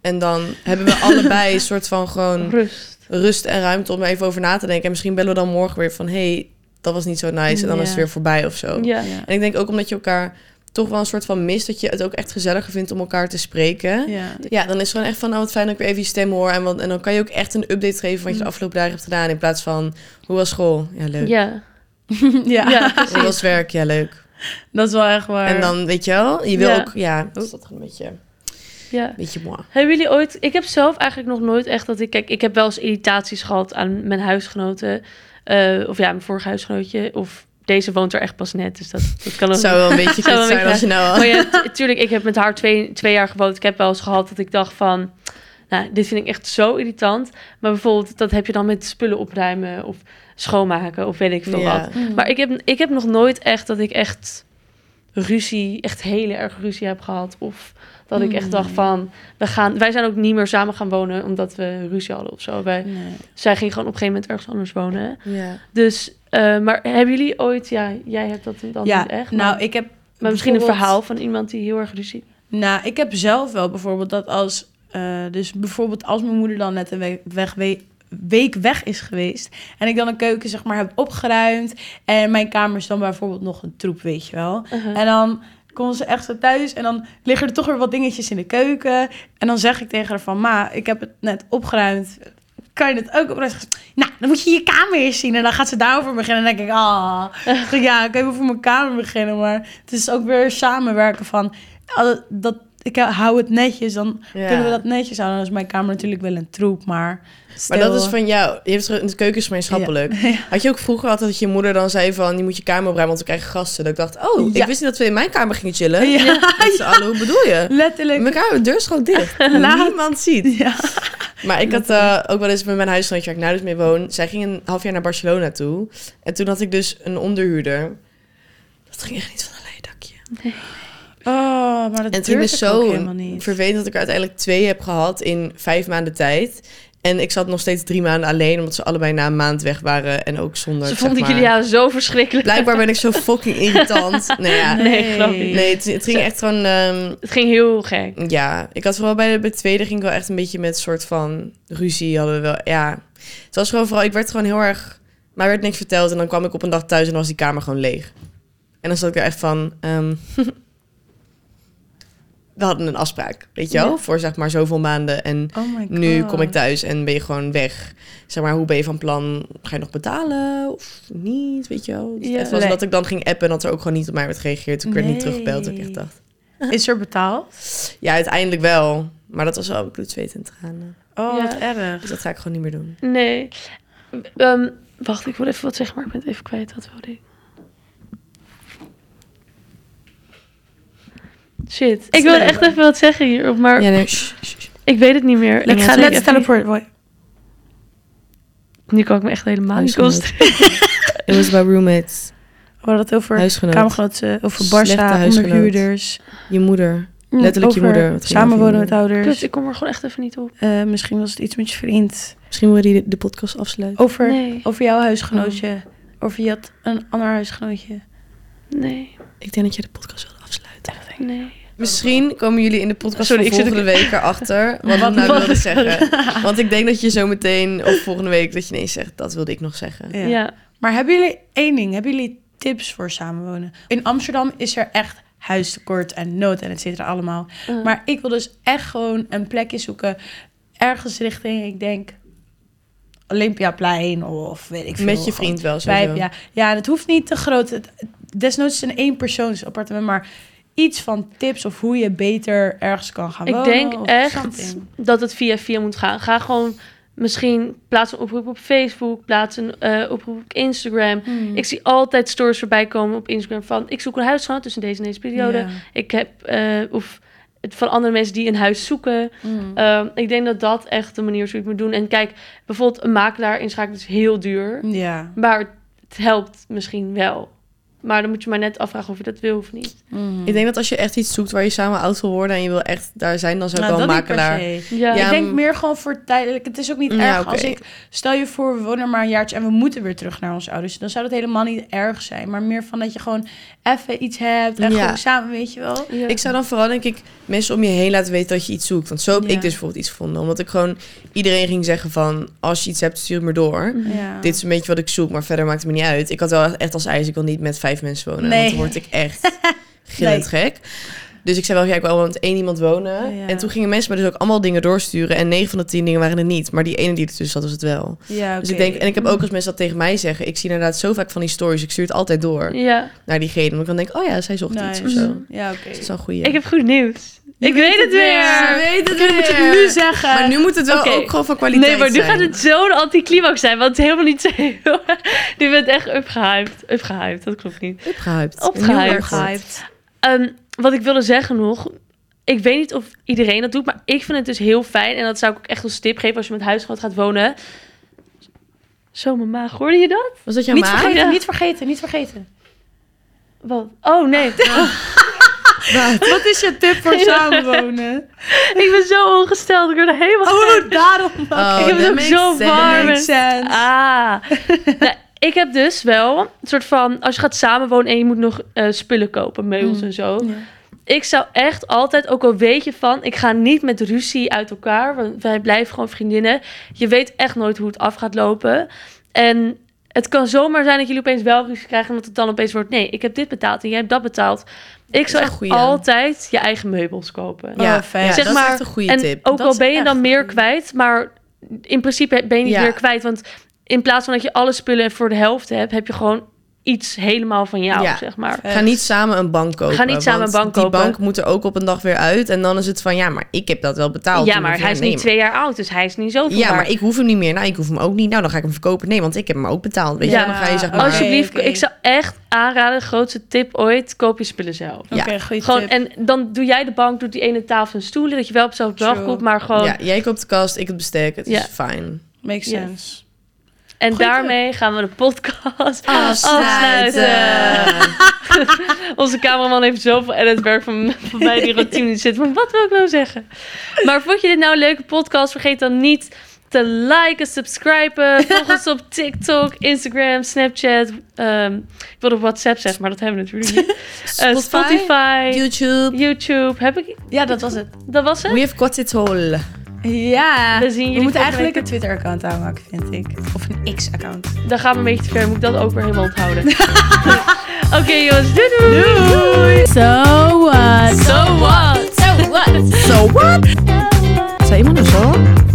Speaker 1: En dan hebben we allebei een soort van gewoon
Speaker 3: Rust.
Speaker 1: rust en ruimte om er even over na te denken. En misschien bellen we dan morgen weer van... hey, dat was niet zo nice. En dan
Speaker 2: Ja.
Speaker 1: is het weer voorbij of zo.
Speaker 3: Ja.
Speaker 2: Ja.
Speaker 1: En ik denk ook omdat je elkaar toch wel een soort van mist... dat je het ook echt gezelliger vindt om elkaar te spreken. Ja,
Speaker 2: Ja. (laughs)
Speaker 1: dan is het gewoon echt van... nou, wat fijn dat ik weer even je stem hoor. En, wat, en dan kan je ook echt een update geven... wat je de afgelopen dagen hebt gedaan. In plaats van, hoe was school? Ja, leuk.
Speaker 3: Ja.
Speaker 2: Ja.
Speaker 3: Ja,
Speaker 1: Hoe was werk? Ja, leuk.
Speaker 2: dat is wel echt waar.
Speaker 1: En dan, weet je wel, je wil
Speaker 3: Ja.
Speaker 1: ook... Ja, dat is dat gewoon een beetje, een
Speaker 3: ja.
Speaker 1: beetje mooi.
Speaker 3: Hebben jullie ooit... Ik heb zelf eigenlijk nog nooit echt dat ik... Kijk, ik heb wel eens irritaties gehad aan mijn huisgenoten. eh, of ja, mijn vorige huisgenootje. Of deze woont er echt pas net. Dus dat, dat kan ook
Speaker 1: Het zou wel een
Speaker 2: (laughs)
Speaker 1: beetje
Speaker 3: Zou
Speaker 1: kut
Speaker 3: wel een
Speaker 1: zijn als je nou...
Speaker 3: Maar ja, tu- tuurlijk, ik heb met haar twee, twee jaar gewoond. Ik heb wel eens gehad dat ik dacht van... Nou, dit vind ik echt zo irritant. Maar bijvoorbeeld, dat heb je dan met spullen opruimen... of schoonmaken of weet ik veel
Speaker 1: Ja.
Speaker 3: wat. Maar ik heb, ik heb nog nooit echt dat ik echt ruzie... echt hele erg ruzie heb gehad. Of dat ik echt
Speaker 2: Hmm.
Speaker 3: dacht van... We gaan, wij zijn ook niet meer samen gaan wonen... omdat we ruzie hadden of zo. Wij,
Speaker 2: Nee.
Speaker 3: zij ging gewoon op een gegeven moment ergens anders wonen.
Speaker 1: Ja.
Speaker 3: Dus, eh, maar hebben jullie ooit... Ja, jij hebt dat dan
Speaker 2: Ja,
Speaker 3: niet echt. maar-
Speaker 2: nou, ik heb...
Speaker 3: maar misschien een
Speaker 2: bijvoorbeeld-
Speaker 3: verhaal van iemand die heel erg ruzie.
Speaker 2: Nou, ik heb zelf wel bijvoorbeeld dat als... eh, dus bijvoorbeeld als mijn moeder dan net een week weg, we- week weg is geweest... en ik dan een keuken zeg maar heb opgeruimd... en mijn kamer is dan bijvoorbeeld nog een troep, weet je wel. En dan komt ze echt zo thuis en dan liggen er toch weer wat dingetjes in de keuken. En dan zeg ik tegen haar van... Ma, ik heb het net opgeruimd. kan je het ook opruimen? Nou, dan moet je je kamer eerst zien. En dan gaat ze daarover beginnen. En dan denk ik, ah, Ik denk, ja, ik even voor mijn kamer beginnen. Maar het is ook weer samenwerken van, ah, dat, ik hou het netjes. Dan
Speaker 1: Ja.
Speaker 2: kunnen we dat netjes houden. Dan is mijn kamer natuurlijk wel een troep, maar...
Speaker 1: Maar
Speaker 2: stel-
Speaker 1: dat is van jou. Je hebt het keuken is gemeenschappelijk.
Speaker 2: Ja. Ja. (laughs)
Speaker 1: Had je ook vroeger altijd dat je moeder dan zei van... je moet je kamer opruimen, want we krijgen gasten. Dat ik dacht, oh,
Speaker 2: Ja.
Speaker 1: ik wist niet dat we in mijn kamer gingen chillen.
Speaker 2: Ja,
Speaker 1: Met z'n allen, hoe bedoel je?
Speaker 2: letterlijk.
Speaker 1: Mijn kamer, de deur is gewoon dicht.
Speaker 2: (laughs) Laat.
Speaker 1: Niemand ziet.
Speaker 2: Ja.
Speaker 1: Maar ik had eh, ook wel eens met mijn huisgenootje waar ik nu dus mee woon. Zij ging een half jaar naar Barcelona toe. En toen had ik dus een onderhuurder. Dat ging echt niet van een leidakje.
Speaker 2: Oh, maar dat
Speaker 1: En toen
Speaker 2: durf
Speaker 1: is
Speaker 2: ik ook
Speaker 1: zo
Speaker 2: helemaal niet.
Speaker 1: vervelend dat ik er uiteindelijk twee heb gehad in vijf maanden tijd. En ik zat nog steeds drie maanden alleen, omdat ze allebei na een maand weg waren. En ook zonder.
Speaker 3: Ze
Speaker 1: zeg
Speaker 3: vonden
Speaker 1: maar-
Speaker 3: jullie ja zo verschrikkelijk. (laughs)
Speaker 1: Blijkbaar ben ik zo fucking
Speaker 2: (laughs)
Speaker 1: irritant. nou ja,
Speaker 3: Nee, geloof ik niet.
Speaker 1: nee, het, het ging echt gewoon. ehm,
Speaker 3: Het ging heel gek.
Speaker 1: ja, ik had vooral bij de, bij de tweede ging ik wel echt een beetje met soort van ruzie hadden we wel. Ja, het was gewoon vooral, ik werd gewoon heel erg, maar werd niks verteld en dan kwam ik op een dag thuis en was die kamer gewoon leeg. En dan zat ik er echt van, ehm, (laughs) we hadden een afspraak, weet je wel,
Speaker 2: Ja.
Speaker 1: voor zeg maar zoveel maanden en
Speaker 2: Oh my god.
Speaker 1: nu kom ik thuis en ben je gewoon weg. Zeg maar, hoe ben je van plan? Ga je nog betalen of niet, weet je wel? Dus
Speaker 2: Ja.
Speaker 1: Het was
Speaker 2: Nee.
Speaker 1: dat ik dan ging appen en dat er ook gewoon niet op mij werd gereageerd. Toen ik werd niet
Speaker 2: Nee.
Speaker 1: teruggebeld, dat ik echt dacht...
Speaker 2: Is er betaald?
Speaker 1: Ja, uiteindelijk wel. Maar dat was wel bloed, zweet en tranen.
Speaker 2: Oh,
Speaker 3: Ja.
Speaker 2: wat erg.
Speaker 1: Dus dat ga ik gewoon niet meer doen.
Speaker 3: Nee. Ehm, wacht, ik wil even wat zeggen, maar ik ben het even kwijt. Wat wilde ik? Shit. Ik wil echt even wat zeggen hierop, maar
Speaker 1: Ja, nee.
Speaker 3: ik weet het niet meer.
Speaker 2: Ik ga
Speaker 3: Iemand,
Speaker 2: let's
Speaker 3: even-
Speaker 2: teleport. Boy.
Speaker 3: Nu kan ik me echt helemaal niet
Speaker 1: Huisgenoot.
Speaker 3: concentreren.
Speaker 1: (laughs) It was about roommates.
Speaker 2: We hadden het over
Speaker 1: Huisgenoot.
Speaker 2: kamergenoten, over
Speaker 1: Slechte
Speaker 2: Barça,
Speaker 1: huisgenoot.
Speaker 2: onderhuurders.
Speaker 1: Je moeder. Letterlijk je
Speaker 2: over
Speaker 1: moeder, wat ging er over
Speaker 2: Samenwonen
Speaker 1: je Dus
Speaker 2: met
Speaker 1: moeder?
Speaker 2: ouders.
Speaker 3: Kut, Dus ik kom er gewoon echt even niet op.
Speaker 2: Eh, misschien was het iets met je vriend.
Speaker 1: Misschien wil je die de podcast afsluiten.
Speaker 2: Over,
Speaker 3: Nee. Oh.
Speaker 2: over jouw huisgenootje. Of je had een ander huisgenootje.
Speaker 3: Nee,
Speaker 1: Ik denk dat je de podcast wil afsluiten.
Speaker 3: nee.
Speaker 1: Misschien komen jullie in de podcast
Speaker 3: Sorry,
Speaker 1: van
Speaker 3: ik zit
Speaker 1: volgende week (laughs) erachter. Wat
Speaker 3: Wat-
Speaker 1: ik nou
Speaker 3: wat
Speaker 1: wilde (laughs)
Speaker 3: is-
Speaker 1: zeggen. Want ik denk dat je zo meteen, of volgende week, dat je ineens zegt... dat wilde ik nog zeggen.
Speaker 2: Ja.
Speaker 3: Ja.
Speaker 2: Maar hebben jullie één ding? Hebben jullie tips voor samenwonen? In Amsterdam is er echt huistekort en nood en et cetera allemaal.
Speaker 3: Eh,
Speaker 2: Maar ik wil dus echt gewoon een plekje zoeken. Ergens richting, ik denk, Olympiaplein of weet ik veel.
Speaker 1: Met je
Speaker 2: gewoon
Speaker 1: vriend wel,
Speaker 2: vijf,
Speaker 1: sowieso.
Speaker 2: ja. ja, en het hoeft niet te groot. Het, desnoods een eenpersoonsappartement, maar iets van tips of hoe je beter ergens kan gaan
Speaker 3: Ik
Speaker 2: wonen.
Speaker 3: denk
Speaker 2: of
Speaker 3: echt
Speaker 2: something.
Speaker 3: dat het via via moet gaan. Ga gewoon misschien plaats een oproep op Facebook, plaats een eh, oproep op Instagram.
Speaker 1: Mm,
Speaker 2: Hmm.
Speaker 3: Ik zie altijd stories voorbij komen op Instagram van ik zoek een huisgenoot tussen deze en deze periode.
Speaker 2: Ja.
Speaker 3: Ik heb eh, of het van andere mensen die een huis zoeken.
Speaker 2: Mm.
Speaker 3: Ehm, ik denk dat dat echt de manier is hoe je het moet doen. En kijk, bijvoorbeeld een makelaar inschakelen is heel duur,
Speaker 2: Ja.
Speaker 3: maar het helpt misschien wel. Maar dan moet je maar net afvragen of je dat wil of niet.
Speaker 2: Mm.
Speaker 1: Ik denk dat als je echt iets zoekt waar je samen oud wil worden... en je wil echt daar zijn, dan zou ik
Speaker 2: Nou,
Speaker 1: wel
Speaker 2: dat
Speaker 1: een
Speaker 2: niet per
Speaker 1: makelaar...
Speaker 2: se.
Speaker 3: Ja,
Speaker 1: Ja,
Speaker 2: ik denk
Speaker 1: m-
Speaker 2: meer gewoon voor tijdelijk. Het is ook niet
Speaker 1: Ja,
Speaker 2: erg
Speaker 1: oké.
Speaker 2: als ik... Stel je voor, we wonen er maar een jaartje en we moeten weer terug naar onze ouders. Dan zou dat helemaal niet erg zijn. Maar meer van dat je gewoon even iets hebt en
Speaker 1: Ja.
Speaker 2: gewoon samen, weet je wel.
Speaker 3: ja.
Speaker 1: Ik zou dan vooral, denk ik, mensen om je heen laten weten dat je iets zoekt. Want zo heb
Speaker 2: Ja.
Speaker 1: ik dus bijvoorbeeld iets gevonden. Omdat ik gewoon iedereen ging zeggen van... als je iets hebt, stuur het me door.
Speaker 2: Ja.
Speaker 1: Dit is een beetje wat ik zoek, maar verder maakt het me niet uit. Ik had wel echt als eis, ik wil niet met vijf mensen wonen.
Speaker 2: Nee.
Speaker 1: Want dan word ik echt
Speaker 2: (laughs)
Speaker 1: gillend gek. Dus ik zei wel, ja, ik wil wel met één iemand wonen.
Speaker 2: Ja.
Speaker 1: En toen gingen mensen me dus ook allemaal dingen doorsturen. En negen van de tien dingen waren er niet. Maar die ene die ertussen zat, was het wel.
Speaker 2: Ja,
Speaker 1: Dus
Speaker 2: oké.
Speaker 1: ik denk, en ik heb ook als mensen dat tegen mij zeggen... ik zie inderdaad zo vaak van die stories. Ik stuur het altijd door
Speaker 3: ja.
Speaker 1: naar diegene. Omdat ik dan denk, oh ja, zij zocht iets
Speaker 2: Nice.
Speaker 1: of zo.
Speaker 3: Mhm.
Speaker 2: Ja, oké.
Speaker 1: Dat is wel een goeie.
Speaker 3: ik heb goed nieuws. ik weet het weer.
Speaker 1: Ze weet het
Speaker 2: Je moet het nu zeggen.
Speaker 1: Maar nu moet het wel
Speaker 3: Oké.
Speaker 1: ook gewoon van kwaliteit
Speaker 3: nee, maar nu
Speaker 1: zijn.
Speaker 3: gaat het zo'n anticlimax zijn, want het is helemaal niet zo heel... (laughs) nu bent echt upgehyped. Upgehyped, dat klopt niet.
Speaker 1: Opgehyped.
Speaker 3: Opgehyped.
Speaker 1: Heel erg goed.
Speaker 2: Gehyped.
Speaker 3: Ehm, wat ik wilde zeggen nog, ik weet niet of iedereen dat doet, maar ik vind het dus heel fijn. En dat zou ik ook echt als tip geven als je met huisgenoot gaat wonen. Zo, mijn maag, hoorde je dat?
Speaker 1: Was dat jouw
Speaker 2: Niet
Speaker 1: maag?
Speaker 2: vergeten,
Speaker 3: Ja.
Speaker 2: niet vergeten, niet
Speaker 1: (laughs)
Speaker 2: vergeten.
Speaker 3: Wat? Oh nee,
Speaker 2: Wat is je tip (laughs) voor samenwonen?
Speaker 3: ik ben zo ongesteld. Ik word er helemaal
Speaker 2: Oh, daarom.
Speaker 1: Oh,
Speaker 3: Ik heb het
Speaker 1: that
Speaker 3: ook
Speaker 1: makes
Speaker 3: zo
Speaker 1: sense.
Speaker 3: warm.
Speaker 2: Makes sense.
Speaker 3: Ah. nou, ik heb dus wel een soort van... Als je gaat samenwonen en je moet nog eh, spullen kopen, meubels
Speaker 2: Mm.
Speaker 3: en zo.
Speaker 2: Ja.
Speaker 3: Ik zou echt altijd, ook al weet je van... Ik ga niet met ruzie uit elkaar. Want wij blijven gewoon vriendinnen. Je weet echt nooit hoe het af gaat lopen. En het kan zomaar zijn dat jullie opeens wel ruzie krijgen... omdat het dan opeens wordt... Nee, ik heb dit betaald en jij hebt dat betaald. Ik
Speaker 1: wel
Speaker 3: zou echt
Speaker 1: een goeie.
Speaker 3: altijd je eigen meubels kopen.
Speaker 2: Oh,
Speaker 1: Ja,
Speaker 2: fijn.
Speaker 1: ja
Speaker 3: Zeg
Speaker 1: dat
Speaker 3: maar,
Speaker 1: is echt een goede
Speaker 3: En
Speaker 1: tip.
Speaker 3: ook
Speaker 2: Dat
Speaker 3: al
Speaker 2: is
Speaker 3: ben je
Speaker 2: echt
Speaker 3: dan
Speaker 2: een
Speaker 3: meer
Speaker 2: goeie.
Speaker 3: kwijt, maar in principe ben je niet
Speaker 1: Ja.
Speaker 3: meer kwijt. Want in plaats van dat je alle spullen voor de helft hebt, heb je gewoon iets helemaal van jou,
Speaker 1: Ja.
Speaker 3: zeg maar.
Speaker 1: Ga niet samen een bank kopen.
Speaker 3: niet samen
Speaker 1: want
Speaker 3: een bank
Speaker 1: die
Speaker 3: kopen.
Speaker 1: bank moet er ook op een dag weer uit. En dan is het van, ja, maar ik heb dat wel betaald.
Speaker 3: ja,
Speaker 1: Dan
Speaker 3: maar
Speaker 1: denk
Speaker 3: hij
Speaker 1: ik,
Speaker 3: is
Speaker 1: ja, nee,
Speaker 3: niet twee jaar oud, dus hij is niet zo
Speaker 1: maar- Ja, maar ik hoef hem niet meer. Nou, ik hoef hem ook niet. Nou, dan ga ik hem verkopen. Nee, want ik heb hem ook betaald. Weet je,
Speaker 3: Ja, Oh,
Speaker 1: dan ga je zeg
Speaker 2: oké.
Speaker 1: maar...
Speaker 2: Als je-
Speaker 3: Alsjeblieft,
Speaker 2: oké.
Speaker 3: ik zou echt aanraden, grootste tip ooit, koop je spullen zelf.
Speaker 2: Oké,
Speaker 1: Ja.
Speaker 2: goede
Speaker 3: Gewoon,
Speaker 2: tip.
Speaker 3: en dan doe jij de bank, doet die ene tafel en stoelen, dat je wel op hetzelfde bedrag
Speaker 2: True.
Speaker 3: komt, maar gewoon...
Speaker 1: Ja, jij koopt de kast, ik het bestek. Het
Speaker 3: Ja.
Speaker 1: is fijn.
Speaker 2: Makes
Speaker 3: Ja.
Speaker 2: sense.
Speaker 3: En
Speaker 2: Goeie
Speaker 3: daarmee gaan we de podcast
Speaker 1: Afsluiten.
Speaker 3: Onze cameraman heeft zoveel editwerk van, van mij die routine die zit. Maar wat wil ik nou zeggen? Maar vond je dit nou een leuke podcast? Vergeet dan niet te liken, subscriben. Volg ons op TikTok, Instagram, Snapchat. ehm, ik wilde op WhatsApp zeggen, maar dat hebben we natuurlijk niet. Eh,
Speaker 1: Spotify,
Speaker 3: Spotify,
Speaker 1: YouTube.
Speaker 3: YouTube. Heb ik...
Speaker 2: Ja, dat was het.
Speaker 3: Dat was
Speaker 1: We
Speaker 3: het?
Speaker 1: have got it all.
Speaker 2: Ja.
Speaker 3: We zien jullie
Speaker 2: We moeten
Speaker 3: volgende
Speaker 2: eigenlijk
Speaker 3: week.
Speaker 2: een Twitter-account aanmaken, vind ik. Of een X-account.
Speaker 3: Dan gaan we een beetje te ver. Moet ik dat ook weer helemaal onthouden? Oké jongens, doei doei!
Speaker 2: So what?
Speaker 3: So what?
Speaker 1: So what? Zou iemand een zo?